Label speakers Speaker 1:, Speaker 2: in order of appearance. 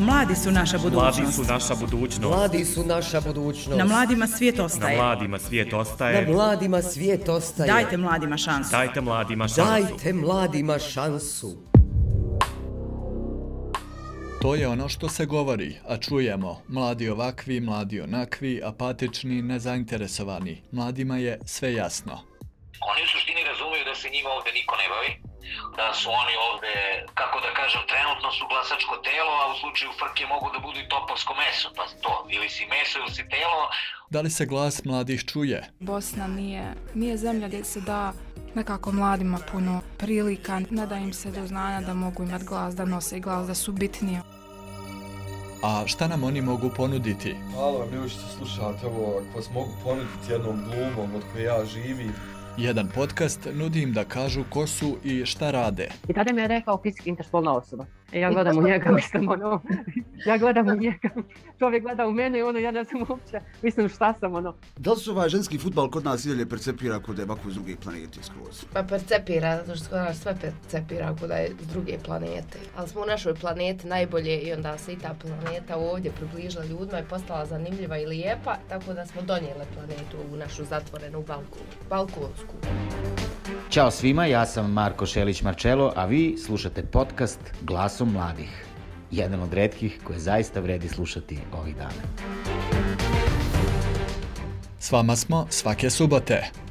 Speaker 1: Mladi su naša budućnost.
Speaker 2: Mladi su naša budućnost.
Speaker 3: Mladi su naša budućnost.
Speaker 1: Na mladima svijet
Speaker 2: Na
Speaker 1: ostaje.
Speaker 2: mladima svijet
Speaker 3: Na
Speaker 2: ostaje.
Speaker 3: mladima svijet ostaje.
Speaker 1: Dajte mladima šansu.
Speaker 2: Dajte mladima šansu.
Speaker 3: Dajte mladima šansu.
Speaker 4: To je ono što se govori, a čujemo. Mladi ovakvi, mladi onakvi, apatični, nezainteresovani. Mladima je sve jasno.
Speaker 5: Oni u suštini razumeju da se njima ovde niko ne bavi, da su oni ovde, kako da kažem, trenutno su glasačko telo, a u slučaju frke mogu da budu i topovsko meso, pa to, ili si meso ili si telo,
Speaker 4: Da li se glas mladih čuje?
Speaker 6: Bosna nije, nije zemlja gdje se da nekako mladima puno prilika, ne da im se do znanja da mogu imat glas, da nose glas, da su bitnije.
Speaker 4: A šta nam oni mogu ponuditi?
Speaker 7: Hvala vam ljudi što slušate ovo, ako vas mogu ponuditi jednom glumom od koje ja živim.
Speaker 4: Jedan podcast nudi im da kažu ko su i šta rade.
Speaker 8: I tada mi je rekao fizički interspolna osoba. E, ja gledam u njega, mislim, ono, ja gledam u njega, čovjek gleda u mene i ono, ja ne znam uopće, mislim, šta sam, ono.
Speaker 9: Da li se ovaj ženski futbal kod nas i dalje percepira kod debaku iz druge planete skroz?
Speaker 10: Pa percepira, zato što kod nas sve percepira ako da je s druge planete. Ali smo u našoj planeti najbolje i onda se i ta planeta ovdje približila ljudima i postala zanimljiva i lijepa, tako da smo donijele planetu u našu zatvorenu balku, balkonsku.
Speaker 11: Ćao svima, ja sam Marko Šelić Marčelo, a vi slušate podcast Glasom mladih. Jedan od redkih koje zaista vredi slušati ovih dana.
Speaker 4: S vama smo svake subote.